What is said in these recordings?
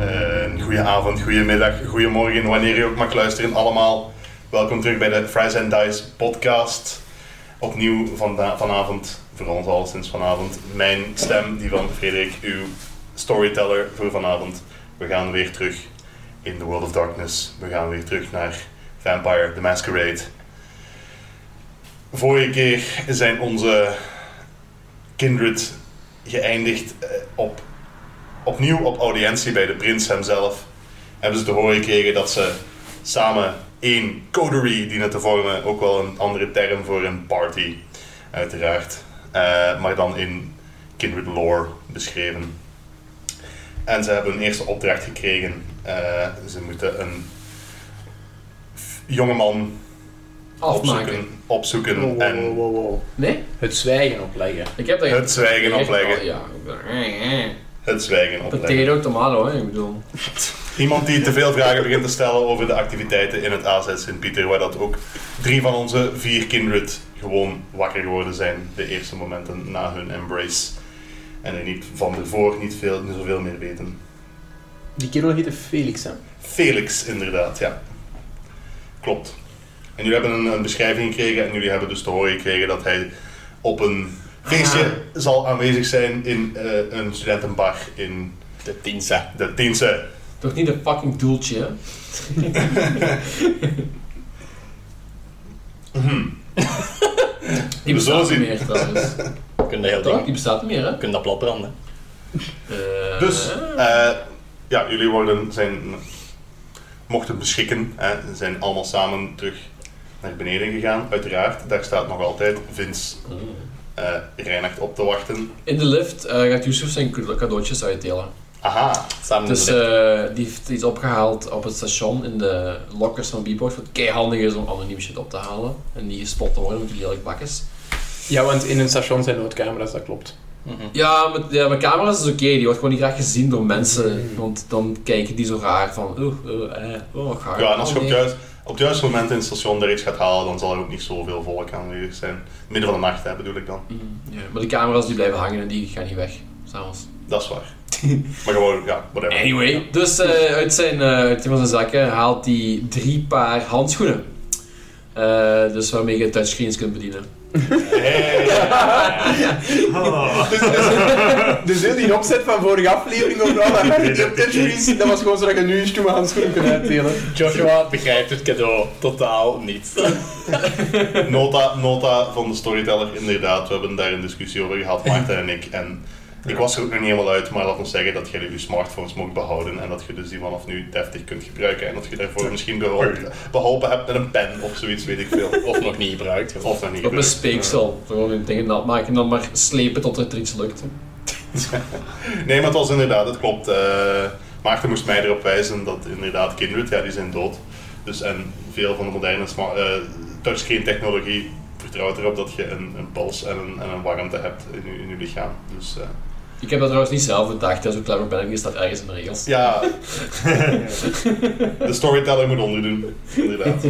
Eh, Goedenavond, goedemiddag, goedemorgen, wanneer je ook mag luisteren, allemaal. Welkom terug bij de Fries and Dice podcast. Opnieuw vanda- vanavond, voor ons al sinds vanavond, mijn stem, die van Frederik, uw storyteller voor vanavond. We gaan weer terug in the World of Darkness. We gaan weer terug naar Vampire the Masquerade. Vorige keer zijn onze kindred geëindigd eh, op opnieuw op audiëntie bij de prins hemzelf hebben ze te horen gekregen dat ze samen één coterie dienen te vormen. Ook wel een andere term voor een party, uiteraard. Eh, maar dan in Kindred lore beschreven. En ze hebben hun eerste opdracht gekregen. Eh, ze moeten een f- jongeman Afmaken. opzoeken, opzoeken Wow, wow, wow, en wow, wow. Nee? Het zwijgen opleggen. Ik heb dat het zwijgen Echt wel, opleggen. Ja, ik ben- Het zwijgen opleggen. Potato, tomato, hè, ik bedoel. Iemand die te veel vragen begint te stellen over de activiteiten in het AZ Sint-Pieter, waar dat ook drie van onze vier kindred gewoon wakker geworden zijn de eerste momenten na hun embrace. En er niet van ervoor niet, veel, niet zoveel meer weten. Die kerel heette Felix, hè? Felix, inderdaad, ja. Klopt. En jullie hebben een, een beschrijving gekregen en jullie hebben dus te horen gekregen dat hij op een feestje zal aanwezig zijn in eh, een studentenbar in De Tinsa. de Teense. Toch niet een fucking doeltje, hè? Mhm. Die Zo bestaat zien. niet meer, trouwens. We kunnen heel Toch? ding. Die bestaat niet meer, hè? We kunnen dat plat branden. Eh, Dus, eh, ja, jullie worden, zijn, mochten beschikken, hè, ze zijn allemaal samen terug naar beneden gegaan, uiteraard. Daar staat nog altijd Vince eh Reinhard op te wachten. In de lift eh, gaat Yusuf zijn cadeautjes uitdelen. Aha, Samen Dus in de eh, die heeft iets opgehaald op het station in de lockers van Beeport. Wat keihandig is om anoniem shit op te halen. En niet gespot te worden met die lelijk bakjes. eh, Ja, want in een station zijn noodcamera's, dat klopt. lift. Mhm. Ja, met, ja, mijn camera's is dus oké. Die wordt gewoon niet graag gezien door mensen. Want dan kijken die zo raar van... Oeh, oeh, eh, oh, wat gaar. ja, en als je Oh, op het nee. juist, op het juiste moment in het station er iets gaat halen, dan zal er ook niet zoveel volk aanwezig zijn. Midden van de nacht, hè, bedoel ik dan. Mm, ja, Maar de camera's die blijven hangen en die gaan niet weg. S'avonds. Dat is waar. maar gewoon, ja, whatever. Anyway. Dus eh, uit, zijn, eh, uit een van zijn zakken haalt hij drie paar handschoenen. Eh, dus waarmee je touchscreens kunt bedienen. Hey. Dus heel die opzet van vorige aflevering over al dat hartje op touchscreens, dat was gewoon zodat je nu eens mijn handschoenen kunt uitdelen. Joshua begrijpt het cadeau totaal niet. Nota, nota van de storyteller, inderdaad. We hebben daar een discussie over gehad, Maarten en ik. En ik was er ook nog niet helemaal uit, maar laat ons zeggen dat jullie je smartphones mocht behouden. En dat je dus die vanaf nu deftig kunt gebruiken. En dat je daarvoor misschien beholpen, beholpen hebt met een pen of zoiets, weet ik veel. Of nog niet gebruikt. gewoon. Of dan niet. Op een gebeurt. speeksel. Gewoon een ding nat maken en dan maar slepen tot het er iets lukt. Nee, maar het was inderdaad, het klopt. Eh, Maarten moest mij erop wijzen dat inderdaad kinderen, ja, die zijn dood. Dus en veel van de moderne sma- eh, touchscreen technologie vertrouwt erop dat je een, een puls en een, en een warmte hebt in je, in je lichaam. Dus eh, Ik heb dat trouwens niet zelf bedacht. Hè. Zo clever ben ik niet. staat ergens in de regels. Ja. de storyteller moet onderdoen, inderdaad.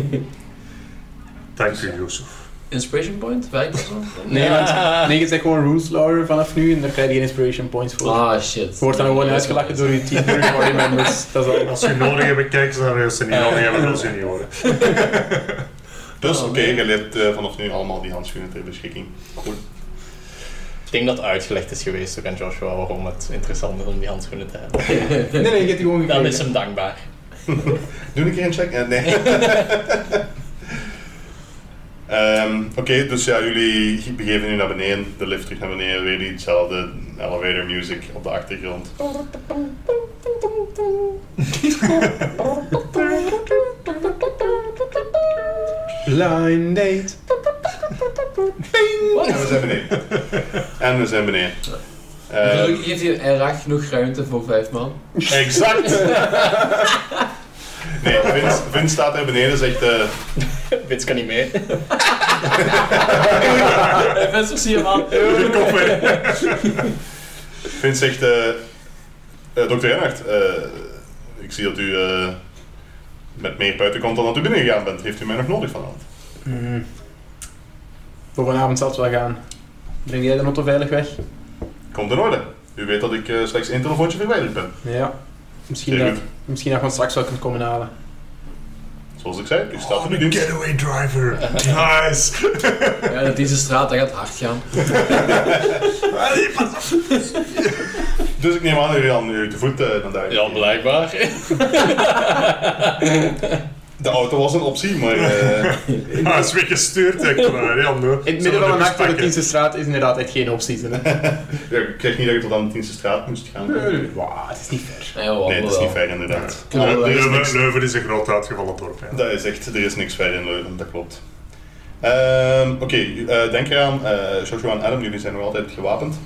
Dank u, Jozef. Inspiration point? Werkt dat zo? Nee, want nee, je zegt gewoon rules lawyer vanaf nu en daar krijg je geen inspiration points voor. Ah, shit. Je wordt dan gewoon uitgelachen door je team, door je party members. Dat is allemaal. Als je nodig hebt, kijken ze naar je. Als ze niet nodig hebben, willen ze niet horen. Dus Oh, oké, nee. je leert eh, vanaf nu allemaal die handschoenen ter beschikking. Ik denk dat uitgelegd is geweest ook aan Joshua waarom het interessant is om die handschoenen te hebben. Nee, nee, je hebt die gewoon Dan is gekregen. hem dankbaar. Doe een keer een check? Eh, nee. Ehm, oké, dus ja, jullie begeven nu naar beneden. De lift terug naar beneden. Weer diezelfde elevator music op de achtergrond. Oh. Blind date. En Oh, we zijn beneden. En we zijn beneden. Ehm, Gelukkig heeft hier erg genoeg ruimte voor vijf man. exact! Nee, Vince, Vince staat daar beneden zegt... eh, Wits kan niet mee. Professor Sierman. De koffer. Vince zegt, eh eh, dokter Reinhardt, eh, ik zie dat u eh, met meer buiten komt dan dat u binnen gegaan bent. Heeft u mij nog nodig vanavond? Mhm. Voor vanavond zal het wel gaan. Breng jij de auto veilig weg? Komt in orde. U weet dat ik eh, slechts één telefoontje verwijderd ben. Ja. Misschien Heel dat, goed. misschien dat je ons straks wel kunt komen halen. Zoals ik zei, u staat Oh, er de nu. getaway driver. Nice. Ah, Ja, dat deze straat, dat gaat hard gaan. Allee, pas op. Dus ik neem aan dat jullie al nu te voet eh, naar daar. Ja, blijkbaar. De auto was een optie, maar eh, Ah, het is weer gestuurd, echt waar. Ja, no. In het midden van de nacht aan de Tienste straat is inderdaad echt geen optie. hè. Nee, ja, ik kreeg niet dat ik tot aan de Tienste straat moest gaan. nee, nee. Wauw, het is niet ver. Nee, we Nee, dat is niet wel. fair inderdaad. Ja. Er- er is Leuven, niks- Leuven is een groot uitgevallen dorp. Ja. Dat is echt, er is niks verder in Leuven, dat klopt. Ehm, Oké, eh, denk eraan, eh Joshua en Adam, jullie zijn nog altijd gewapend.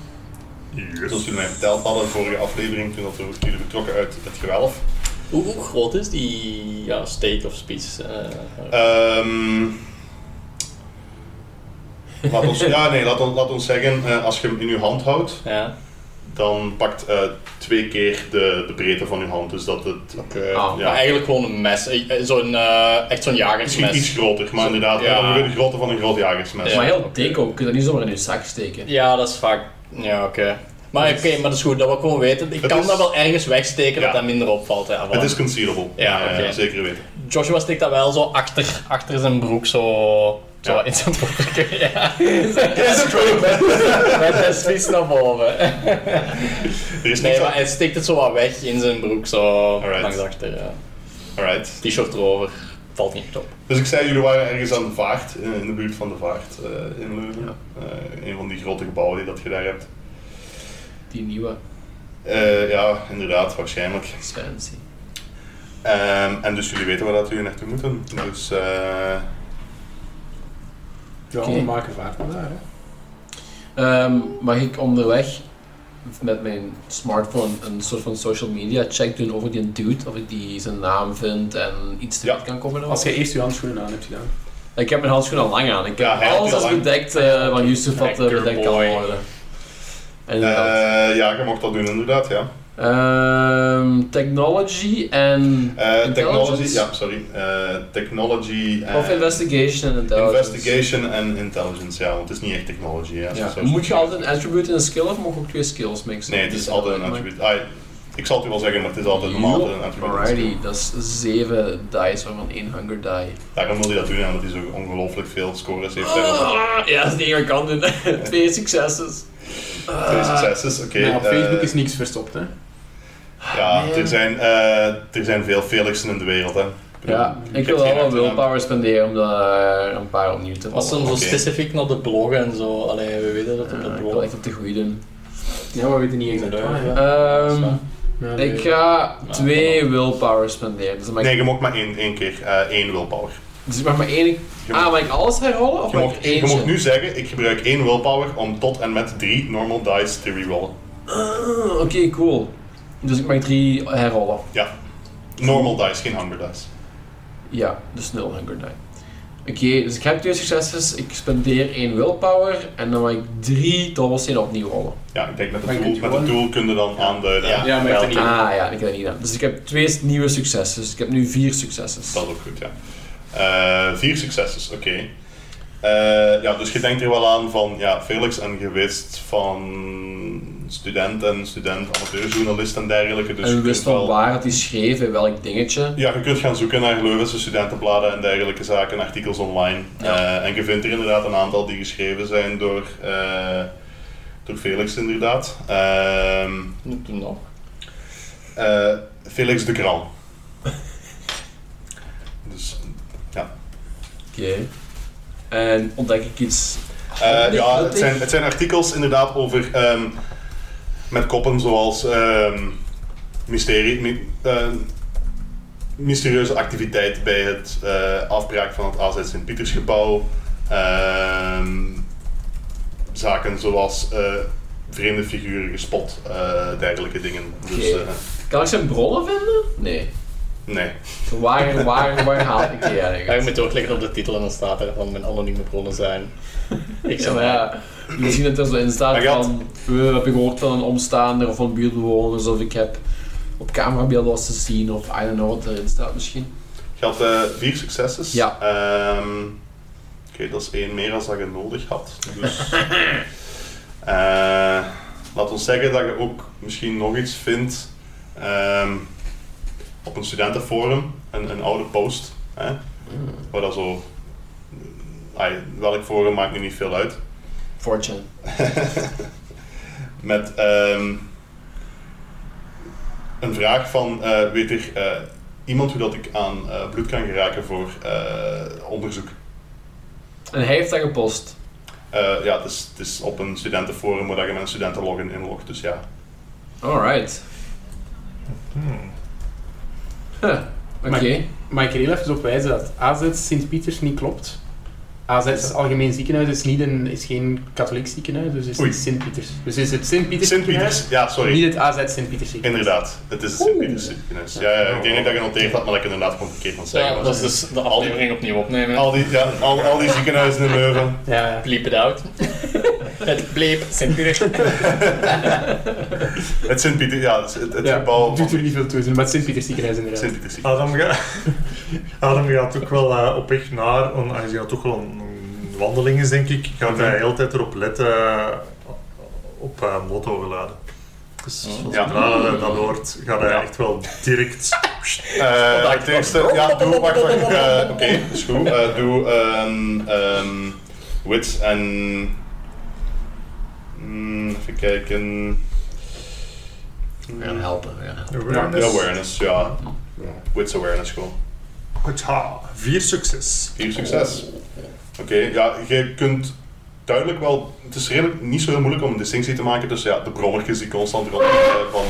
Yes. Zoals jullie mij verteld hadden, vorige aflevering, toen dat we- jullie vertrokken uit het gewelf. Hoe, hoe groot is die ja, steak of spies? eh, Ehm, laat ons, ja, nee, laat, ons- laat ons zeggen, eh, als je hem in je hand houdt, ja. dan pakt eh, twee keer de, de breedte van je hand. Dus dat het Oké. Ah, ja. Maar eigenlijk gewoon een mes. eh, eh, Zo'n, eh, echt zo'n misschien iets jagersmes. groter, maar inderdaad, Ja. ja. dan weer de grootte van een groot jagersmes. Ja. Maar heel oké. dik ook, je kunt dat niet zomaar in je zak steken. Ja, dat is vaak... Ja, oké. Maar oké, maar dat is goed. Dat wil ik gewoon weten. Ik Het kan is- dat wel ergens wegsteken dat Ja. dat minder opvalt. Ja, Het voilà. is concealable, Ja, Eh, oké. zeker weten. Joshua steekt dat wel zo achter, achter zijn broek, zo, zo Ja. in zijn broek. Ja. Met zijn spies naar boven. Er is niks Nee, aan- maar hij steekt het zo wat weg in zijn broek, zo Alright. langs achter. Ja. Alright. T-shirt erover, valt niet echt op. Dus ik zei, jullie waren ergens aan de vaart, in in de buurt van de vaart eh, in Leuven. Eh, een van die grote gebouwen die dat je daar hebt. Die nieuwe Eh, ja, inderdaad, waarschijnlijk. is fancy. Ehm, en dus jullie weten waar dat jullie naartoe moeten. Dus eh, Ja, Oké. we maken vaart van daar. Hè. Ehm, mag ik onderweg met mijn smartphone een soort van social media check doen over die dude, of ik die zijn naam vind en iets te Ja. weten kan komen? Als je eerst je handschoenen aan hebt gedaan. Ik heb mijn handschoen al lang aan. Ik heb Ja, hij had alles die al als lang. bedekt eh wat Yusuf had eh, Lekker bedekt kan boy. worden. Inderdaad. eh, ja, je mocht dat doen inderdaad, ja. Ehm, technology en... Eh, technology, Intelligence? ja, sorry. Eh, technology en Of investigation en intelligence. Eh, investigation en intelligence, ja, want het is niet echt technology. Ja, Ja. Zo- Moet je altijd een attribute en een skill of mag je ook twee skills mixen? Dus Nee, het is altijd een attribute. Ah, ik zal het u wel zeggen, maar het is altijd Jo. normaal een attribute. Alrighty, dat is 7 dice, waarvan één hunger die. Daarom wil hij dat doen, ja, omdat hij zo ongelooflijk veel scores heeft. Ah, ja, dat is de enige kant in. Twee succeses. Ah. Twee succeses, oké. Nou, op Facebook eh, is niks verstopt. Hè. Ja, Nee. er zijn, eh, er zijn veel Felixen in de wereld, hè. Ja, ik heb geen wil wel wat echte naam. willpower spenderen om er een paar opnieuw te Was vallen. dan zo Oké. specifiek naar de bloggen en zo. Allee, we weten dat op de Ja, ik blog. wil echt op de goede doen. Ja, maar we weten niet exact Nee. waar, ja. Ehm, dat Ah, Ja, nee. ik ga Ja, twee willpower spenderen. Dus dan mag ik, Nee, je mag maar één, één keer eh, één willpower. dus ik mag maar één... Je ah, mag- mag ik alles herrollen? Of Je Oh, mag mag, ik je eentje? mag nu zeggen, ik gebruik één willpower om tot en met drie normal dice te rerollen. Ah, Oké, cool. Dus ik mag drie herrollen. Normal dice, geen hunger dice. Ja, dus nul hunger die. Oké, dus ik heb twee succeses. Ik spendeer één willpower. En dan mag ik drie dobbelstenen opnieuw rollen. Ja, ik denk met Maar het je doel, kunt met het gewoon- doel kun je dan aanduiden. Ja. hè. Ja, maar ik heb niet. Ah ja, ik heb dat niet gedaan. Dus ik heb twee nieuwe successen. Dus ik heb nu vier successen. Dat is ook goed, ja. Eh, vier succeses, oké. Eh, ja, dus je denkt er wel aan van, ja, Felix en gewist van student en student, amateurjournalist en dergelijke. Dus en je we kunt wisten al wel- waar het is geschreven, welk dingetje. Ja, je kunt gaan zoeken naar Leuvense studentenbladen en dergelijke zaken, artikels online. Ja. Eh, en je vindt er inderdaad een aantal die geschreven zijn door, eh, door Felix, inderdaad. Ehm, Moet doen nog. eh, Felix de Gran. dus Oké. En ontdek ik iets. Eh, Nee, ja, dat het is- zijn, het zijn artikels inderdaad over ehm, met koppen zoals ehm, mysterie, mi- ehm, mysterieuze activiteit bij het eh, afbraak van het AZ Sint Pietersgebouw. Ehm, zaken zoals eh, vreemde figuren gespot, eh, dergelijke dingen. Dus Oké. eh, Kan ik zijn bronnen vinden? Nee. nee. Waar, waar, waar haal ik die Ja, je eigenlijk? moet doorklikken op de titel en dan staat er van mijn anonieme bronnen zijn. Ik Ja, zeg maar ja, misschien dat er zo in Maar staat je had- van... eh, heb ik gehoord van een omstaander of van buurtbewoners of ik heb op camerabeelden was te zien of I don't know wat erin staat misschien. Je had eh, vier succeses. Ja. Ehm, Oké, dat is één meer als dat je nodig had. Dus, eh laat ons zeggen dat je ook misschien nog iets vindt. Ehm, op een studentenforum een, een oude post. Hè, Waar dat zo. eh, ai, welk forum maakt nu niet veel uit. Fortune. Met ehm, een vraag van: eh, weet er eh, iemand hoe dat ik aan eh, bloed kan geraken voor eh, onderzoek? En hij heeft dat gepost. Eh, ja, het is, het is op een studentenforum waar je met een studentenlogin inlogt, dus ja. Alright. Huh. Oké. Mag ik er heel even op wijzen dat AZ Sint-Pieters niet klopt? AZ is Algemeen Ziekenhuis is, niet een, is geen katholiek ziekenhuis, dus is Oei. het Sint-Pieters. Dus is het Sint-Pieters ziekenhuis, Sint-Pieters, ja, sorry. niet het AZ Sint-Pieters ziekenhuis. Inderdaad, het is het Sint-Pieters ziekenhuis. Ja, ja, ik denk dat ik dat genoteerd had, maar dat ik inderdaad gewoon verkeerd moet zeggen. Ja, was. dat is dus de aflevering opnieuw opnemen. al, die, ja, al, al die ziekenhuizen in Leuven. Ja, ja. Bleep het out. het bleep Sint-Pieter. Het Sint-Pieters, ja, het, het, het ja. gebouw doet van er niet veel toe, maar het Sint-Pieters ziekenhuis inderdaad. Sint-Pieters ziekenhuis. Adam, ga- Adam gaat ook wel eh, op weg naar, een- hij gaat toch wel een, een wandeling is denk ik, gaat hij de hele tijd erop letten eh, op eh motorgeluiden. Dus Mhm. Ja. zodra dat hij dat hoort, gaat hij Ja. echt wel direct... Eh, het eerste, ja, doe, wacht, wacht, eh, oké, is goed. Eh, doe ehm ehm wits en... Mm, even kijken... We gaan helpen. Ja. Dus- Ja, awareness, ja. Wits awareness gewoon. Dus, Goed, ha, vier succes. Vier succes. Oké, ja, je kunt duidelijk wel... Het is redelijk niet zo heel moeilijk om een distinctie te maken tussen ja, de brommertjes die constant rondlopen van...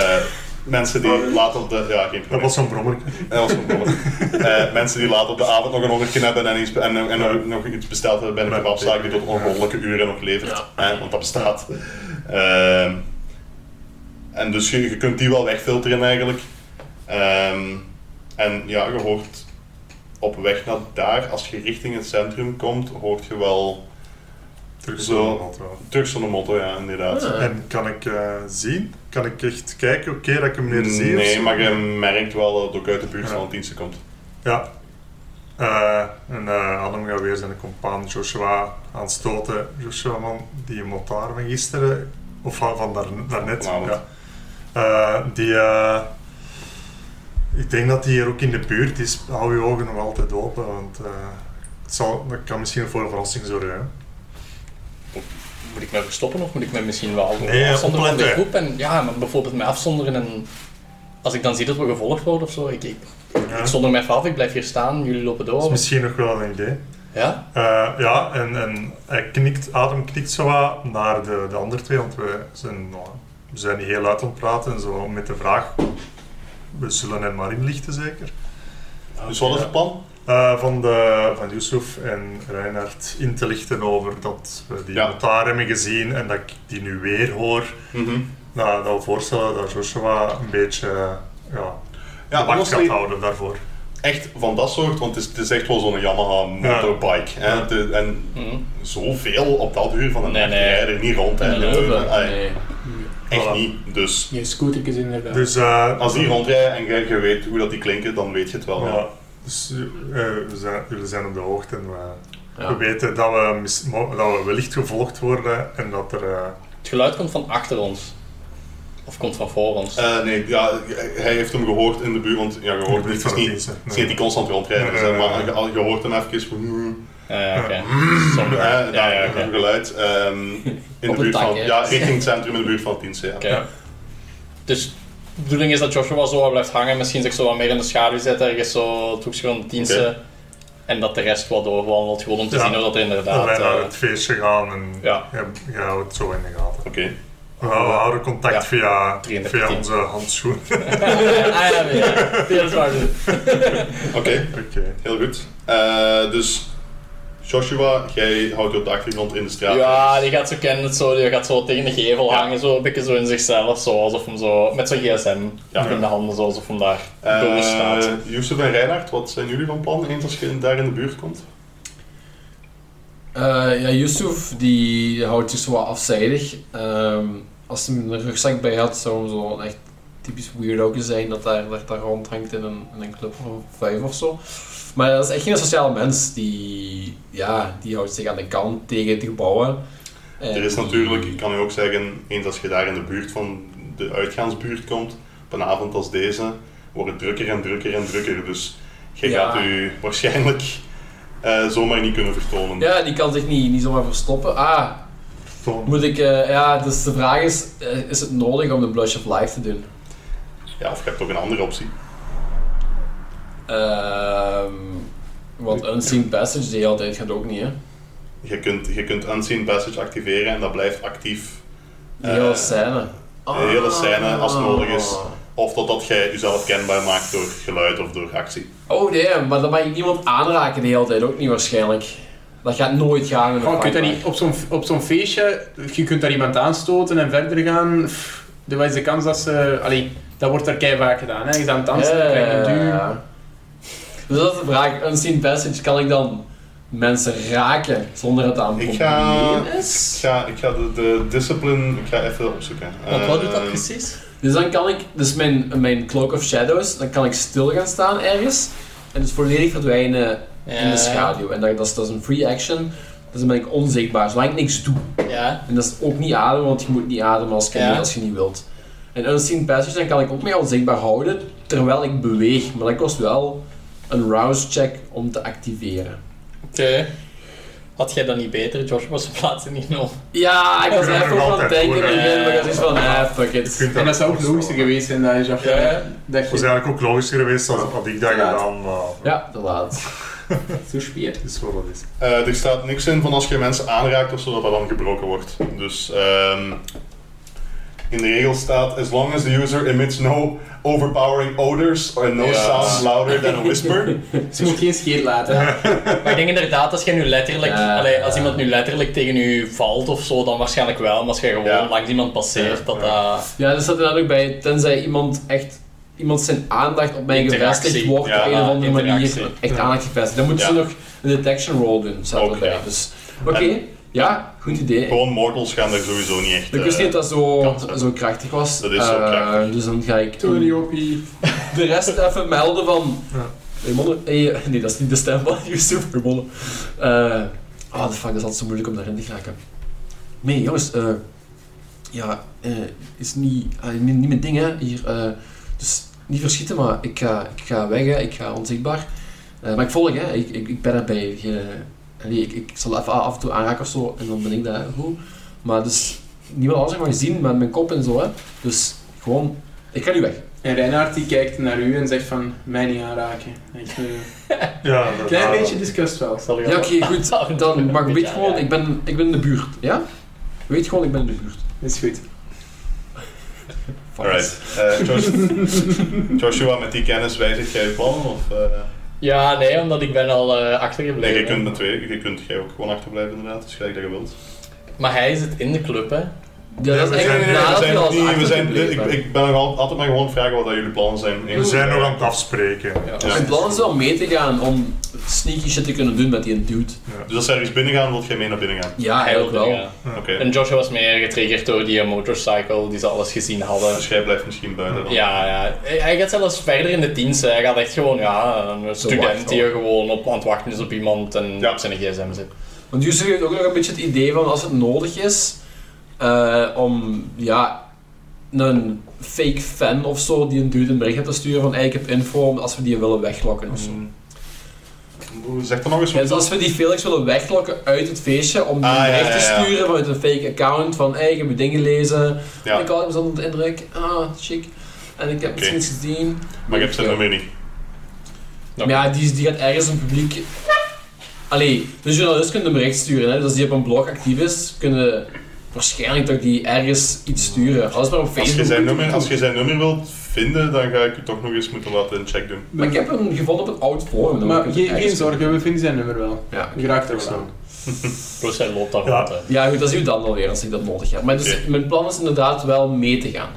eh, mensen die later op de... Ja, geen probleem. Dat was zo'n brommer. Dat was gewoon belachelijk. Eh, mensen die later op de avond nog een hongertje hebben en, iets, en, en, nog- nog iets besteld hebben bij een kebabzaak die tot ongelooflijke uren nog levert. Hè, want dat bestaat. Ehm, en dus je, je kunt die wel wegfilteren eigenlijk. Ehm, en ja, je hoort op weg naar daar, als je richting het centrum komt, hoort je wel Terug Zo. zo'n auto. Turks zonder motto, ja, inderdaad. Ah. En kan ik eh, zien? Kan ik echt kijken? Oké, dat ik hem meer zie? of Mm, Nee, zo? maar je merkt wel dat het ook uit de buurt van Ja. een dienst komt. Ja. Eh, en eh, Adam gaat weer zijn compaan Joshua aanstoten. Joshua, man, die motar van gisteren, of van, van daar, daarnet. Vanavond. Ja. Eh, die, eh, ik denk dat die hier ook in de buurt is. Hou je ogen nog altijd open, want eh, het zal, dat kan misschien voor een verrassing zorgen. hè. Moet ik mij verstoppen of moet ik mij misschien wel Nee, afzonderen van de opletten. groep? En, ja, maar bijvoorbeeld mij afzonderen en als ik dan zie dat we gevolgd worden of zo, ik, ik, Ja. ik zonder mij even af, ik blijf hier staan, jullie lopen Dat is door. misschien nog wel een idee. Ja? Eh, ja, en, en hij knikt, Adam knikt zo wat naar de, de andere twee, want we zijn, nou, we zijn niet heel uit aan het praten. en Zo met de vraag, we zullen hem maar inlichten zeker. Dus wat is het plan? Eh, van, de, van Yusuf en Reinhard in te lichten over dat we die Ja. notaar hebben gezien en dat ik die nu weer hoor. Mhm. Nou, dat we voorstellen dat Joshua een beetje ja, Ja, de wacht gaat mostly- houden daarvoor. echt van dat soort, want het is, het is echt wel zo'n Yamaha motorbike. Hè? Het is- en Mhm. zoveel op dat uur van de Nee, nacht nee. rijden er niet rond. Hè? Nee, De nee. Leuven, ai, Nee. Echt Voilà. niet. Dus Je scootertjes inderdaad. Dus, eh, als die rondrijden en je, je weet hoe dat die klinken, dan weet je het wel. Ja. Ja. Dus eh, we zijn, jullie zijn op de hoogte en we, Ja. we weten dat we, mis- mo- dat we wellicht gevolgd worden en dat er... eh, Het geluid komt van achter ons. Of komt van voor ons. Eh, nee, ja, hij heeft hem gehoord in de buurt, want ja, je hoort buurt het van is de niet, diensten, het is nee. niet die constant rondrijden, Nee, dus, nee, hè, nee, maar je, je hoort hem even van... hmm, Eh, oké. hè, Somewhere. daar, Ja, ja, dat oké. geluid. ehm, in Op de een buurt tak, van, hè. ja, richting het centrum in de buurt van het dienst. Ja. Oké. Dus de bedoeling is dat Joshua zo wat blijft hangen, misschien zich zo wat meer in de schaduw zet, ergens zo het hoekje van de diensten. En dat de rest wat doorwandelt, gewoon om te Ja. zien of dat er dat inderdaad... wij naar eh, het feestje gaan en ja. jij, jij houdt het zo in de gaten. Oké. We hou- we houden contact Ja. via, 33. via onze handschoen. ah ja, nee, ja. Nee, dat is waar. Oké. Oké. Heel goed. Eh, dus Joshua, jij houdt je op de achtergrond in de straat. Ja, die gaat zo kennen, zo, die gaat zo tegen de gevel hangen, zo, een beetje zo in zichzelf, zo, alsof hem zo, met zijn gsm Ja. in de handen, zo, alsof hem daar Eh, door staat. Yusuf en Reinhard, wat zijn jullie van plan eens als je daar in de buurt komt? Eh, ja, Yusuf die houdt zich zo wat afzijdig. Ehm, als hij een rugzak bij had, zou hem zo een echt typisch weirdo zijn dat daar, dat daar rondhangt in een, in een club van vijf of zo. Maar dat is echt geen sociale mens. Die, ja, die houdt zich aan de kant tegen de gebouwen. En er is die- natuurlijk, ik kan u ook zeggen, eens als je daar in de buurt van de uitgaansbuurt komt, op een avond als deze, wordt het drukker en drukker en drukker. Dus je Ja. gaat u waarschijnlijk eh, zomaar niet kunnen vertonen. Ja, die kan zich niet, niet zomaar verstoppen. Ah, Toon. moet ik... eh, ja, dus de vraag is, eh, is het nodig om de Blush of Life te doen? Ja, of je hebt ook een andere optie. Ehm want Unseen Passage die je altijd gaat ook niet, hè? Je kunt, je kunt Unseen Passage activeren en dat blijft actief. Die hele Eh, scène. de hele scène, als Ah. nodig is. Of totdat jij jezelf kenbaar maakt door geluid of door actie. Oh damn, maar dan mag ik niemand aanraken de hele tijd, ook niet waarschijnlijk. Dat gaat nooit gaan in een Gewoon, kun Oh, je dat fight. niet op zo'n op zo'n feestje, je kunt daar iemand aanstoten en verder gaan. Pff, de- Wat is de kans dat ze... Allee, dat wordt daar kei vaak gedaan. Hè? Je is aan het dansen, dan krijg je een duw. Ja. Dus dat is de vraag, Unseen Passage, kan ik dan mensen raken zonder het aan Ik te ga- Ik is? ga, ik ga de, de discipline ik ga even opzoeken. Want wat doet dat Eh, precies? Dus dan kan ik, dus mijn, mijn Cloak of Shadows, dan kan ik stil gaan staan ergens en dus volledig verdwijnen in de schaduw. En dat, dat, is, dat is een free action, dus dan ben ik onzichtbaar, zolang ik niks doe. Ja. En dat is ook niet ademen, want je moet niet ademen als je, Ja. niet, als je niet wilt. En Unseen Passage, dan kan ik ook mij onzichtbaar houden terwijl ik beweeg. Maar dat kost wel een rouse check om te activeren. Oké. Had jij dat niet beter? Josh was op plaats niet genomen. Ja, ik was Ja, even nog aan het altijd denken in het goed, begin, hè. maar ik was iets van, eh, fuck Je it. kunt En dat zou ook logischer Het geweest zijn dan je zag. Ja, ja. Dat was je eigenlijk ook logischer geweest als had ik dat Ja. gedaan, maar Ja, te laat. zo speelt. het is wat het is. eh, er staat niks in van als je mensen aanraakt of zo, dat dat dan gebroken wordt. Dus ehm, in de regel staat: As long as the user emits no overpowering odors and no Ja. sound louder than a whisper. Dus Ze moet geen scheet laten. Maar ik denk inderdaad, als jij nu letterlijk, Ja. allee, als iemand nu letterlijk tegen u valt of zo, dan waarschijnlijk wel. Maar als jij gewoon Ja. langs iemand passeert, Ja, dat ja. dat. Ja, er staat inderdaad ook bij, tenzij iemand echt, iemand zijn aandacht op mij Interactie. gevestigd wordt Ja, op een of andere interactie. manier. Echt aandacht gevestigd. Dan moeten Ja. ze nog een detection roll doen, staat Ook, erbij. ja. Dus, oké, ja, goed idee. Gewoon mortals gaan er sowieso niet echt. Ik wist eh, niet dat dat zo, kans hebben. zo krachtig was. Dat is zo Eh, krachtig. Dus dan ga ik Tony Hoppie. de rest even melden van... Ja. Hey, mannen, hey, eh, nee, dat is niet de stem van Yusuf, hey, mannen. Eh, Ah, de fuck, dat is altijd zo moeilijk om daarin te geraken. Nee, jongens, eh, ja, eh, is niet, ah, niet, niet mijn ding, hè, hier. eh, dus niet verschieten, maar ik ga, ik ga weg, hè, ik ga onzichtbaar. Eh, maar ik volg, hè, ik, ik, ik ben erbij. Ik, eh, allee, ik, ik zal even af en toe aanraken of zo, en dan ben ik daar goed. Maar dus, niemand anders mag zien, met mijn kop en zo, hè. Dus gewoon, ik ga nu weg. En Reinhard die kijkt naar u en zegt van, mij niet aanraken. En ik, eh, Ja, dat- Klein ja, beetje disgust wel. Zal je Ja, wel- oké, goed. Dan, maar weet gewoon, ik ben, ik ben in de buurt, ja? Weet gewoon, ik ben in de buurt. Is goed. Fuck Alright. Eh, Josh- Joshua, met die kennis wijzigt jij je plannen? Of, eh, Ja, nee, omdat ik ben al eh nee, achtergebleven. je kunt met twee, je kunt jij ook gewoon achterblijven inderdaad, dus gelijk dat je wilt. Maar hij zit in de club, hè? Ja, dat is Nee, echt nee, nee, we nadat zijn je nog al niet- we zijn, ik, achtergebleven bent. ik ben nog al- altijd maar gewoon vragen wat dat jullie plannen zijn. We zijn nog aan het afspreken. Ja. Ja. Mijn plan is wel mee te gaan om sneaky shit te kunnen doen met die dude. Dus als ze ergens binnen gaan, wil jij mee naar binnen gaan. Ah, Ja, Hij eigenlijk wil wel. dingen. Oké. En Joshua was meer getriggerd door die eh, motorcycle die ze alles gezien hadden. Dus jij blijft misschien buiten dan. Ja, ja. Hij- Hij gaat zelfs verder in de dienst. hè. Hij gaat echt gewoon, ja, een student wacht die er gewoon op aan het wachten is op iemand en Ja. op zijn gsm zit. Want Yusuf heeft ook nog een beetje het idee van als het nodig is eh, om ja, een fake fan of zo die een dude een bericht te sturen van hey, ik heb info om- als we die willen weglokken of zo. Oeh, Zeg er nog eens Ja, dus wat. als we die Felix willen weglokken uit het feestje om die Ah, ja, bericht ja, te ja. sturen vanuit een fake account van hey, ik heb mijn dingen gelezen, Ja. ik had hem zonder de indruk, ah, chic. En ik heb Oké. misschien iets gezien. Maar ik heb zijn nummer niet. Maar ja, die, die gaat ergens een publiek... Allee, de journalist kunt een bericht sturen, hè. dus als die op een blog actief is, kunnen waarschijnlijk toch die ergens iets sturen. Alles maar op Als je Facebook. zijn nummer, als je zijn nummer wilt vinden, dan ga ik u toch nog eens moeten laten een check doen. Maar ik heb hem gevonden op een oud forum. dan Maar moet ik geen, het geen ergens- zorgen, we vinden zijn nummer wel. Ja, Je raakt er wel aan. Plus hij loopt daar Ja. rond. hè. ja, goed, dat zien we dan alweer als ik dat nodig heb. Maar dus, Oké. mijn plan is inderdaad wel mee te gaan.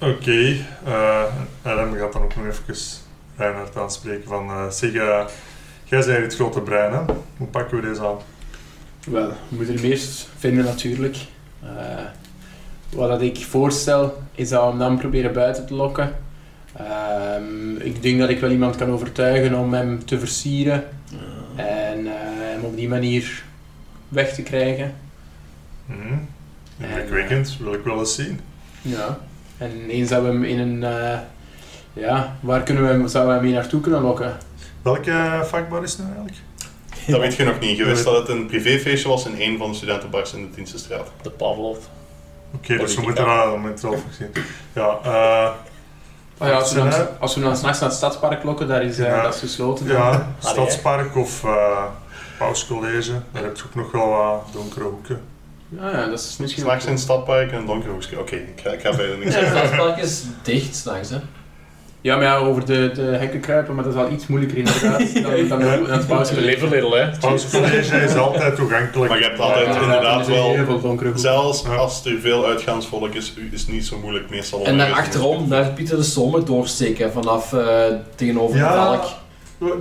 Oké, eh Adam gaat dan ook nog even Reinhard aanspreken van eh zeg, eh, jij bent het grote brein, hè? Hoe pakken we deze aan? Wel, we moeten hem eerst vinden natuurlijk. Eh, wat dat ik voorstel, is dat we hem dan proberen buiten te lokken. Ehm, ik denk dat ik wel iemand kan overtuigen om hem te versieren en eh, hem op die manier weg te krijgen. Hm? Indrukwekkend, wil ik wel eens zien. Ja. En eens dat we hem in een eh, Ja, waar kunnen we, hem- zouden we hem hier naartoe kunnen lokken? Welke vakbar is het nou eigenlijk? Dat weet je nog niet. Je wist dat het een privéfeestje was in een van de studentenbars in de Dienstenstraat. De Pavlov. Oké, dus we Politiek, moeten ja. daar een moment over zien. Ja, eh Ah ja, als we dan, als we dan s'nachts naar het stadspark lokken, daar is, eh, Ja. dat is gesloten. ja Stadspark of eh Pauscollege, daar heb je ook nog wel wat donkere hoeken. Ja, Ah ja, dat is misschien... S'nachts in het stadpark en een donkerhoekje. Oké, ik, ga- ik ga verder niks Het zeggen. stadspark is dicht s'nachts, hè? Oh, Ja, maar ja, over de, de hekken kruipen, maar dat is al iets moeilijker inderdaad dan, dan, dan het Pauze bouwspel. leven little, hè. Pauscollege is altijd toegankelijk. Maar je hebt altijd inderdaad Heel wel... veel donkere hoeken. Zelfs Ja. als er veel uitgaansvolk is, u- is het niet zo moeilijk meestal om En daar ergens- achterom, daar Pieter de Sommer doorsteken vanaf eh, tegenover Ja. de Valk.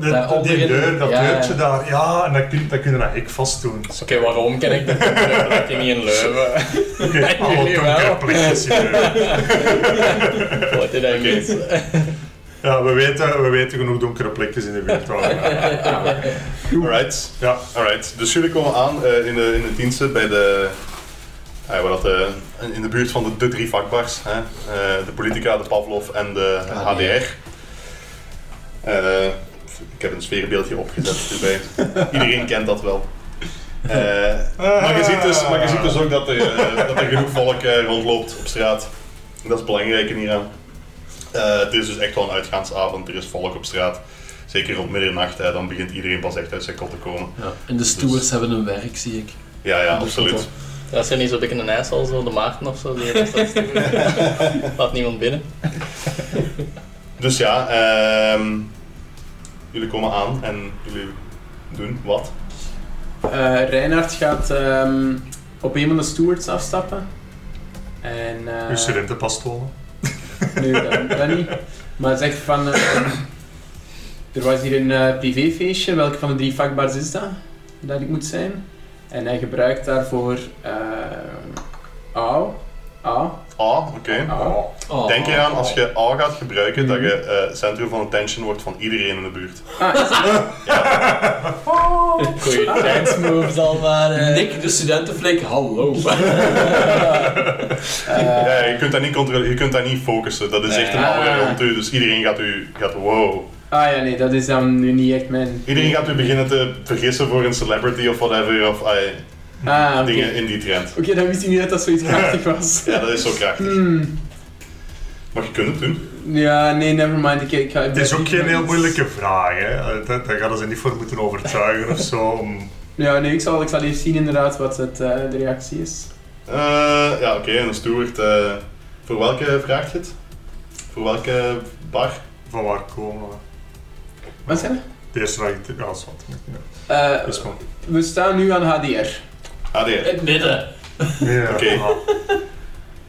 De- Daaronder die in- deur, dat ja, ja. deurtje daar, ja, en dat kun, dat kun je dat hek vast doen. Dus, Oké, waarom ken ik dat? Dat ik niet in Leuven. Oké, Nee, alle jullie wel. donkere plekjes in de deur. Wat is dat Oké. niet? Ja, we weten, we weten genoeg donkere plekjes in de buurt. waar we gaan. Alright. Ja, Alright, dus jullie komen aan eh, in, de, in de diensten bij de. eh, waar dat, de- in de buurt van de, de drie vakbars: hè? Eh, de Politica, de Pavlov en de HDR. Eh, ik heb een sfeerbeeldje opgezet erbij. Iedereen kent dat wel. Eh, maar, je ziet dus, maar je ziet dus ook dat er, eh, dat er genoeg volk eh, rondloopt op straat. Dat is belangrijk in hieraan. Eh, het is dus echt wel een uitgaansavond, er is volk op straat. Zeker op middernacht, hè, dan begint iedereen pas echt uit zijn kot te komen. Ja. En de stewards Dus- hebben hun werk, zie ik. Ja, ja, Dat is absoluut. Dat zijn niet zo'n dikke een ijs als zo de Maarten of zo. Die heeft dat sturen. Laat niemand binnen. Dus ja, ehm, jullie komen aan en jullie doen wat? Eh Reinhard gaat ehm, op een van de stewards afstappen. En, eh, uw studentenpastolen. Nu, dat, dat niet. Maar zegt van... eh, er was hier een eh, privéfeestje. Welke van de drie vakbars is dat? Dat ik moet zijn. En hij gebruikt daarvoor... eh au. Au. A, oké. Au. Oh. Denk eraan als je A gaat gebruiken, dat Mhm. je eh, centrum van attention wordt van iedereen in de buurt. Ah, is het? Goeie dance moves al maar. eh. Nick, de studentenflik, hallo. Eh, ja, je kunt dat niet controleren, je kunt dat niet focussen. Dat is echt een Nee. aura rond u, dus iedereen gaat u, gaat, wow. ah ja, nee. Dat is dan nu niet echt mijn... Iedereen gaat u beginnen te vergissen voor een celebrity of whatever, of ah, eh, Ah, oké. dingen in die trend. Oké, dan wist ik niet dat dat zoiets krachtig was. Ja, dat is zo krachtig. Hmm. Maar je kunt het doen. Ja, nee, nevermind. Ik, ik ga, Het is ook geen heel moeilijke vraag, hè. Eh, Daar daar gaan ze niet voor moeten overtuigen of zo. om- Ja, nee, ik zal, ik zal even zien inderdaad wat het, eh, de reactie is. Eh, ja, oké, en een steward. eh, voor welke vraag je het? Voor welke bar? van waar komen we. Wat zijn De eerste vraag, die- ja, is wat. Eh Dus maar. we staan nu aan HDR. HDR. het midden. Ja, Oké. aha. Ah.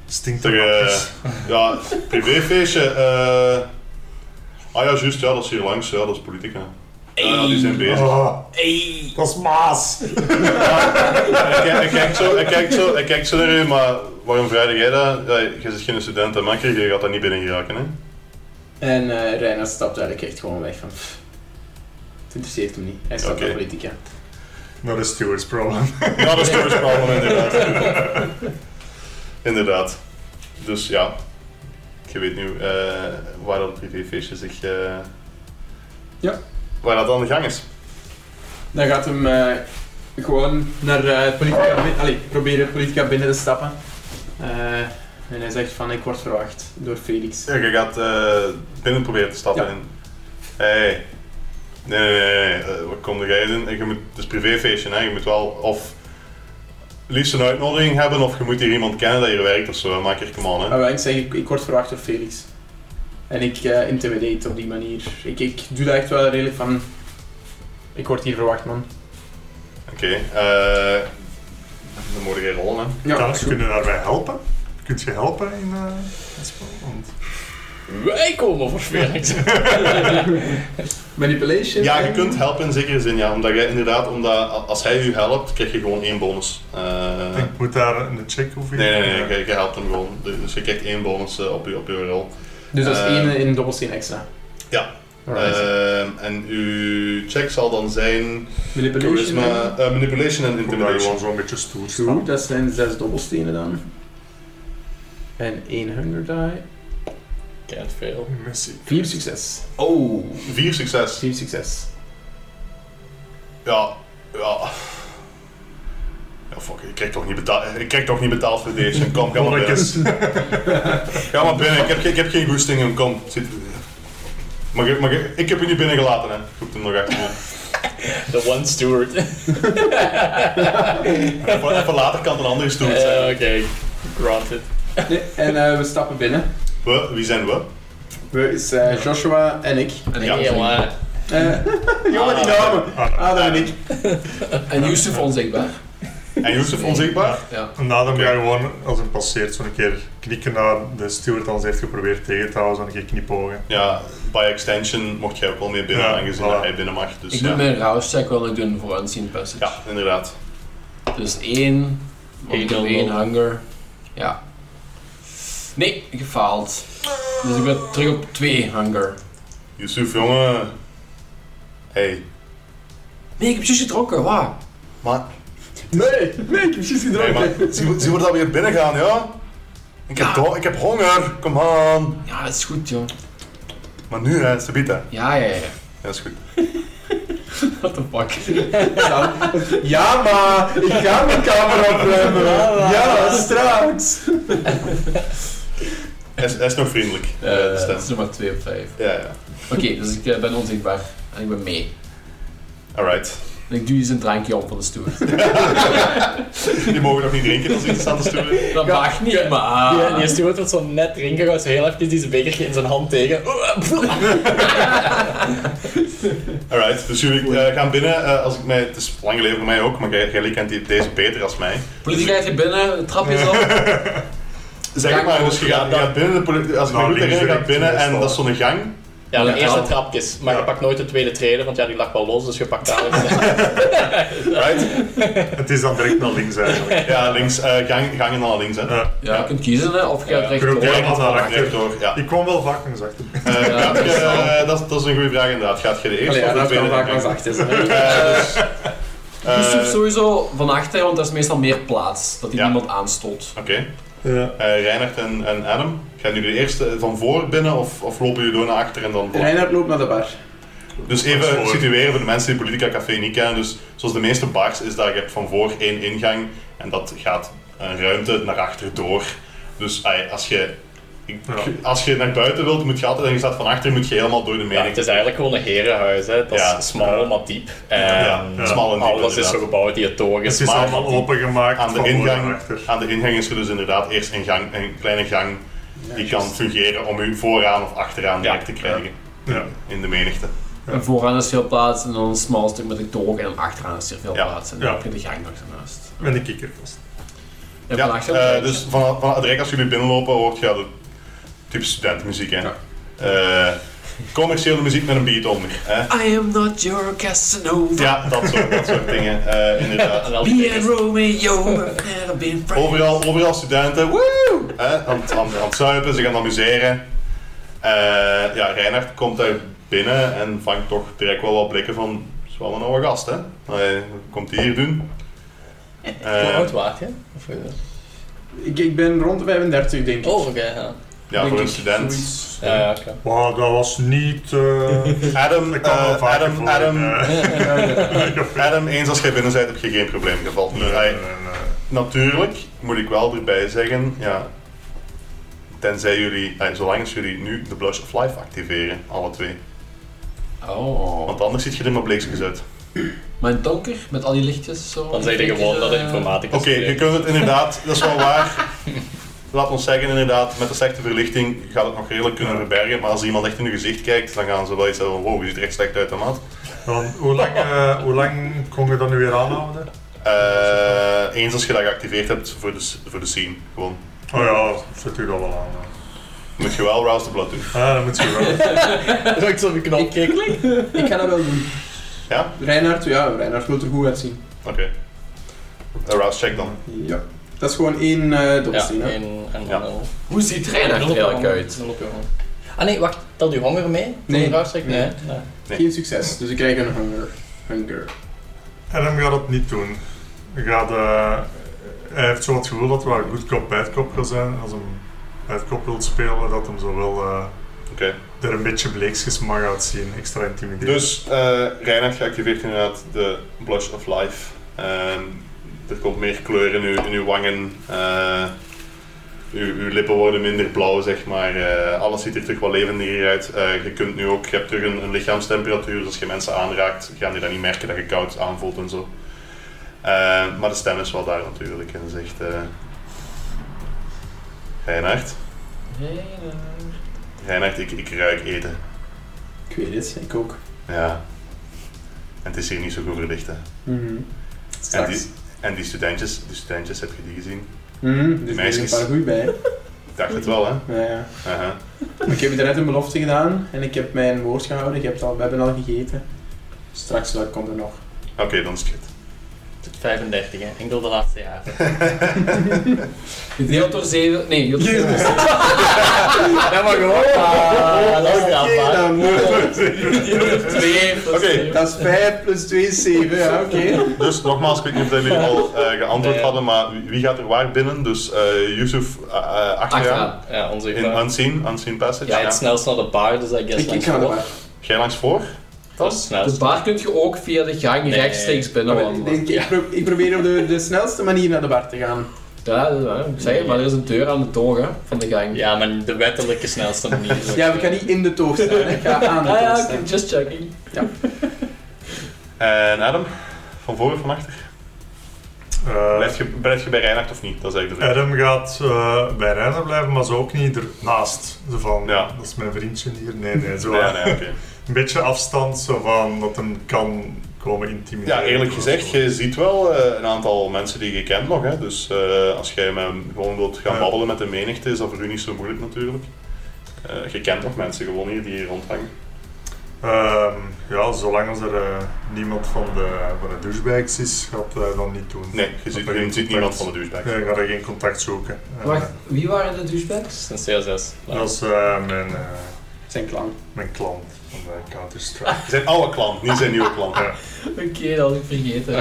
Stinkt er Ter, eh, ja, privéfeestje. eh ah ja, juist, ja, dat is hier langs, ja, dat is politica. Ja, ja, die zijn bezig. Ah, dat is Maas. Hij kijkt- Hij kijkt zo, hij kijkt zo, hij kijkt zo naar u, maar waarom vraag jij dat? Ja, je bent geen student en makker, je gaat daar niet binnen geraken, hè? En eh Reinhard stapt eigenlijk echt gewoon weg van... "Pff, Het interesseert hem niet. Hij stapt Oké. naar politica. Not a steward's problem. Ja, dat is Tourist Problem, inderdaad. inderdaad. Dus ja, je weet nu eh, waar dat privéfeestje zich... eh, Ja. Waar dat aan de gang is. Dan gaat hem eh, gewoon naar eh, politica binnen... Allee, proberen politica binnen te stappen. Eh, en hij zegt van, ik word verwacht door Felix. Ja, je gaat eh, binnen proberen te stappen. Ja. En, hey. Nee, nee, nee, nee. eh, wat kom jij doen? En Je moet, het is privéfeestje, hè. Je moet wel of liefst een uitnodiging hebben of je moet hier iemand kennen dat hier werkt of zo. hè. Maak er come on, hè. Ah, wel, ik zeg, ik, ik word verwacht door Felix. En ik eh, intimidate op die manier. Ik, ik doe dat echt wel redelijk van... Ik word hier verwacht, man. Oké. eh, dan moet jij rollen, hè. Ja, Trouwens, is goed. kunnen daarbij helpen? Kunt je helpen in eh, het spel? Want Wij komen voor Felix. Manipulation? Ja, je kunt helpen in zekere zin, ja. Omdat jij inderdaad, omdat a- als hij u helpt, krijg je gewoon één bonus. Eh, Ik moet daar een check eh, over nee, nee, nee, je, je helpt hem gewoon. Dus je krijgt één bonus eh, op, je, op je rol. Dus dat is Eh, één in dobbelsteen extra. ja. Alright. Ehm, en uw check zal dan zijn Manipulation. charisma, hè? eh, manipulation en Ik moet daar gewoon intimidation. zo'n beetje stoer Goed, staan. dat zijn zes dobbelstenen dan. En één hunger die. can't fail. Missie. Vier succes. Oh, vier succes. Vier succes. Ja, ja. Ja, fuck, ik krijg toch niet betaald, ik krijg toch niet betaald voor deze. Kom, ga maar binnen. dus. Mannetjes. Ga maar binnen, ik heb, geen- ik heb geen goesting in. Kom, zit. Maar, je- maar je- ik heb je niet binnengelaten, hè. Roept hem nog achter me. The one steward. Even, even later kan het een andere stoel Eh, zijn. Oké, granted. Nee, en eh, we stappen binnen. We, wie zijn we? We is eh, Joshua en ik. En Ja. ik- maar Eh jongen, Ah, die namen. Adam en ik. En Yusuf onzichtbaar. En Jozef onzichtbaar? Ja. En Adam Oké. gaat gewoon, als hij passeert, zo'n keer knikken naar de steward als hij heeft geprobeerd tegen te houden, zo'n keer knipogen. Ja, by extension mocht jij ook wel mee binnen, Ja, aangezien voilà. dat hij binnen mag. Dus ik doe ja. mijn rouse check wel ik doe een voor unseen passage. ja, inderdaad. Dus één. Eén Ik doe dan één wel. hanger. Ja. Nee, gefaald. Dus ik ben terug op twee hanger. Yusuf, jongen. Hey. Nee, ik heb precies getrokken, waar? Maar, Nee, nee, ik heb precies hey, maar gedronken. zie, zie we dat weer binnen gaan, ja? Ik heb, Ja. do- ik heb honger, kom aan. Ja, dat is goed, joh. Maar nu, hè, ze biedt, hè. Ja, ja, ja. Ja, is goed. What the fuck? ja, maar ik ga mijn kamer opruimen. Ja, straks. Hij is, hij is nog vriendelijk, eh, Eh, de dat stem. is nummer 2 op 5. Ja, ja. Oké, dus ik eh, ben onzichtbaar. En ik ben mee. Alright. En ik doe eens een drankje om van de stoel. Die mogen nog niet drinken als iets aan te sturen. Dat mag niet, maar... Ah. die, die steward wordt zo net drinken, gaat ze heel even die bekertje in zijn hand tegen. Oh. Alright, dus jullie eh, gaan binnen. eh, als ik mij, het is lang geleden voor mij ook, maar jij, jij kent die, deze beter als mij. Politie gaat je binnen, de trap is op. Zeg Ja, het maar, dus je gaat, je gaat binnen, de poli- als ik me Nou, goed links, herinner, je gaat rechts, binnen en meestal. dat is zo'n gang. Ja, de Ja. eerste trapjes, maar Ja. je pakt nooit de tweede treden, want ja, die lag wel los, dus je pakt daar Right? Het is dan direct naar links eigenlijk. Ja, links, eh, gang, gangen naar links. Hè. Ja. Ja, je kunt kiezen, hè, of je gaat Ja. rechtdoor. Ja. Recht naar naar achter. rechtdoor, ja. Ik kwam wel vaak langs achter. Eh, Ja, gaat dat is je- wel- dat, is- dat is een goede vraag inderdaad. Gaat je de eerste Allee, ja, of de tweede dat kan vaak gang? wel achter zijn. Eh, dus, eh, Je zoekt sowieso van achter, want daar is meestal meer plaats. Dat hij Ja. niemand aanstoot. eh, Oké, Ja. Eh, Reinhard en, en Adam, gaan jullie de eerste van voor binnen of, of lopen jullie door naar achter en dan voor? Reinhard loopt naar de bar. Dus Van even voor. situeren voor de mensen die Politica Café niet kennen. Dus zoals de meeste bars is dat je hebt van voor één ingang en dat gaat een ruimte naar achter door. Dus ai, als je, ik- Ja. als je naar buiten wilt, moet je altijd en je staat van achter, moet je helemaal door de Ja, menigte. het is eigenlijk gewoon een herenhuis, hè. Dat Ja. is smal, Ja. maar diep. Ja, En ja. smal en diep, Alles is inderdaad. zo gebouwd, die toren Het is smal, allemaal maar diep. opengemaakt aan, de van voor naar ingang, achter. aan de ingang is er dus inderdaad eerst een, gang, een kleine gang die kan fungeren om u vooraan of achteraan direct te krijgen Ja. in de menigte. Ja. En vooraan is veel plaats, en dan een smal stuk met de toog, en dan achteraan is er veel Ja. plaats. En dan Ja. heb je de gang nog ernaast. En de kikker vast. En Ja, van achter? eh, dus van, van, direct als jullie binnenlopen hoort je ja, de type studentenmuziek. Hè. Eh, commerciële muziek met een beat onder. Hè. I am not your Casanova. Ja, dat soort, dat soort dingen, eh, En inderdaad. elke Me keer and is- Romeo have never been friends. Overal, overal studenten, woe! Hè, aan, het- aan, aan het zuipen, ze gaan amuseren. Eh, ja, Reinhard komt daar binnen en vangt toch direct wel wat blikken van... is wel een oude gast, hè? Allee, wat komt die hier doen? Hoe Eh, oud waard je? Of, eh, Ik, ik ben rond de 35, denk ik. Oh, oké, ja. ja, Denk voor een ik, student. zoiets. Ja, ja, oké. Wow, dat was niet... eh, Adam, dat kwam wel eh, vaker Adam, voor. Adam, Eh, Adam, eens als jij binnen bent, heb je geen probleem. Je valt niet. nee, Allee, nee, nee. Natuurlijk moet ik wel erbij zeggen, ja, tenzij jullie, eh, zolang als jullie nu de Blush of Life activeren, alle twee. Oh. Want anders ziet je er maar bleekjes uit. Maar in het donker, met al die lichtjes zo. Dan zeg je gewoon dat het Eh, informatica Oké, is. je kunt het inderdaad, dat is wel waar. Laat ons zeggen inderdaad, met de slechte verlichting gaat het nog redelijk kunnen verbergen, maar als iemand echt in je gezicht kijkt, dan gaan ze wel iets hebben van wow, je ziet er echt slecht uit de maat. Want hoe lang, eh, hoe lang kon je dat nu weer aanhouden? Eh, eens als je dat geactiveerd hebt voor de, s- voor de scene, gewoon. Oh ja, zet u dat wel aan. hè. Moet je wel Rouse the Blood doen. Ah, dat moet je wel. Druk zo op je knop. klik. Ik ga dat wel doen. Ja? Reinhard, ja, Reinhard wil er goed uitzien. Oké. Eh, Rouse, check dan. Ja. Dat is gewoon één eh Ja, dobbelsteen, hè? en, en Ja. dan Hoe ziet Reinhard er eigenlijk uit? Ah nee, wacht, tel je honger mee? Nee. Nee. nee. Nee. Geen succes, dus ik krijg een hunger. Hunger. Adam gaat dat niet doen. Hij, gaat, eh, hij heeft zo het gevoel dat we goed cop, bad cop gaan zijn. Als hij bad cop wilt spelen, dat hem zo wel eh, Oké. er een beetje bleekjes mag uitzien. Extra intimiderend. Dus eh Reinhard geactiveerd inderdaad de Blush of Life. Ehm, er komt meer kleur in uw, in uw wangen. eh, uw, uw lippen worden minder blauw, zeg maar. Eh, alles ziet er terug wat levendiger uit. Eh, je kunt nu ook, je hebt terug een, een lichaamstemperatuur. Dus als je mensen aanraakt, gaan die dan niet merken dat je koud aanvoelt en zo. Eh, maar de stem is wel daar natuurlijk. En zegt... eh Reinhard, Reinhard, ik, ik ruik eten. Ik weet het, ik ook. Ja. En het is hier niet zo goed verlicht, hè. Mhm. En Straks. die, en die studentjes, die studentjes, heb je die gezien? Mhm, dus er zijn meisjes. een paar goeie bij. Ik dacht Mhm. het wel, hè? Ja, ja. Aha. Maar ik heb daarnet een belofte gedaan en ik heb mijn woord gehouden. Je hebt al, we hebben al gegeten. Straks wel komt er nog. Oké, dan is het goed. Tot 35, hè. enkel de laatste jaren. Gedeeld door 7. Nee, gedeeld door zeven is zes. Dat mag gewoon. Ah, dat is Oké, grappig. dan moet het. Gedeeld door 2. Oké. Dat is 5 plus 2 is 7, ja, oké. Dus nogmaals, ik weet niet of dat jullie al eh, geantwoord Nee. hadden, maar wie- wie gaat er waar binnen? Dus eh Yusuf eh, eh, achter jou. Achteraan. Ja, onze In Unseen, Unseen Passage. Ja, het snelst naar de bar, dus dat guess Ik, ik ga naar de bar. Jij langs voor? Dat is het De snelst. bar kun je ook via de gang Nee. rechtstreeks binnen Maar ik, wandelen. denk, ik, pro- ik probeer op de, de snelste manier naar de bar te gaan. Ja, dat is waar. Ik zeg het, maar er is een deur aan de toren van de gang. Ja, maar de wettelijke snelste manier. Ja, we gaan niet in de toog staan, hè. ik ga aan de Ah toog ja, oké, staan. just checking. En Adam? Van voor of van achter? Eh, Blijf je, blijf je bij Reinhard of niet? Dat is eigenlijk de vraag. Adam gaat eh, bij Reiner blijven, maar zo ook niet ernaast. Zo van, Ja. dat is mijn vriendje hier. Nee, nee, zo. Ja, nee, oké. Een beetje afstand, zo van, dat hem kan komen intimideren. Ja, eerlijk gezegd, je ziet wel eh, een aantal mensen die je kent nog. Hè? Dus eh, als jij met, gewoon wilt gaan Ja. babbelen met de menigte, is dat voor u niet zo moeilijk natuurlijk. Eh, je kent nog mensen gewoon hier die hier rondhangen. Ehm, ja, zolang als er eh, niemand van de, van de douchebags is, gaat hij dat niet doen. Nee, je ziet, je ziet niemand van de douchebag. Nee, Eh, ik ga er geen contact zoeken. Eh, Wacht, wie waren de douchebags? Dat is een CSS. Dat is eh, mijn, eh, Zijn klank. mijn klant van de Counter-Strike. Zijn oude klant, niet zijn nieuwe klant. Ja. Oké, dat had ik vergeten.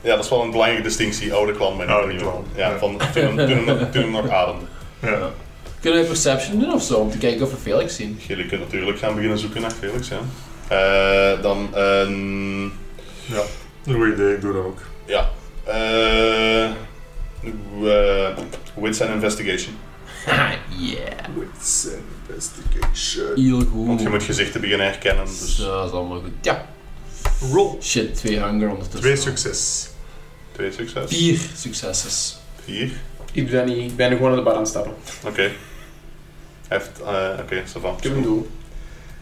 Ja, dat is wel een belangrijke distinctie, oude klant bij nieuwe Oude klant. klant. Ja, Ja. van toen hem, toen hem, nog- toen hem nog ademde. Ja. Kunnen we perception doen of zo, om te kijken of we Felix zien? Jullie kunnen natuurlijk gaan beginnen zoeken naar Felix, ja. Eh, dan een... ja, een goed idee, ik doe dat ook. eh, eh, Wits and Investigation. yeah. Wits investigation. Heel goed. Want je moet gezichten beginnen herkennen. Dus. Dus, eh, dat is allemaal goed. Ja. Roll. Shit, twee hunger ondertussen. Twee succes. Twee succes. Vier successes. Vier. Ik doe dat niet, ik ben gewoon naar de bar aan het stappen. Oké. Heeft, eh, oké, ça va. Ik heb een doel.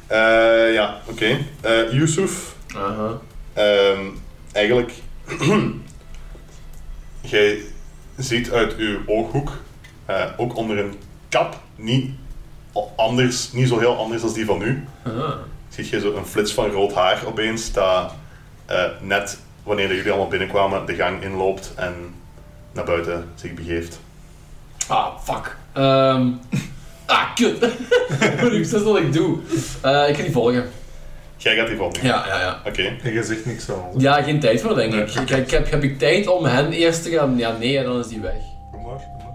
Eh, ja, oké. Eh, Yusuf, Aha. ehm, eigenlijk... Jij ziet uit uw ooghoek, eh, ook onder een kap, niet, al- anders, niet zo heel anders als die van nu, Aha. ziet je zo een flits van rood haar opeens dat eh, net wanneer jullie allemaal binnenkwamen de gang inloopt en naar buiten zich begeeft. Ah, fuck. Ehm, ah, kut. Moet ik zeggen wat ik doe? Eh, ik kan die volgen. Jij gaat die volgen. Ja, ja, ja. Oké. En je zegt niks aan ons. Ja, geen tijd voor, denk Nee, ik. oké. Kijk, heb, heb ik tijd om hen eerst te gaan? Ja, nee, dan is die weg. Kom maar, kom Eh,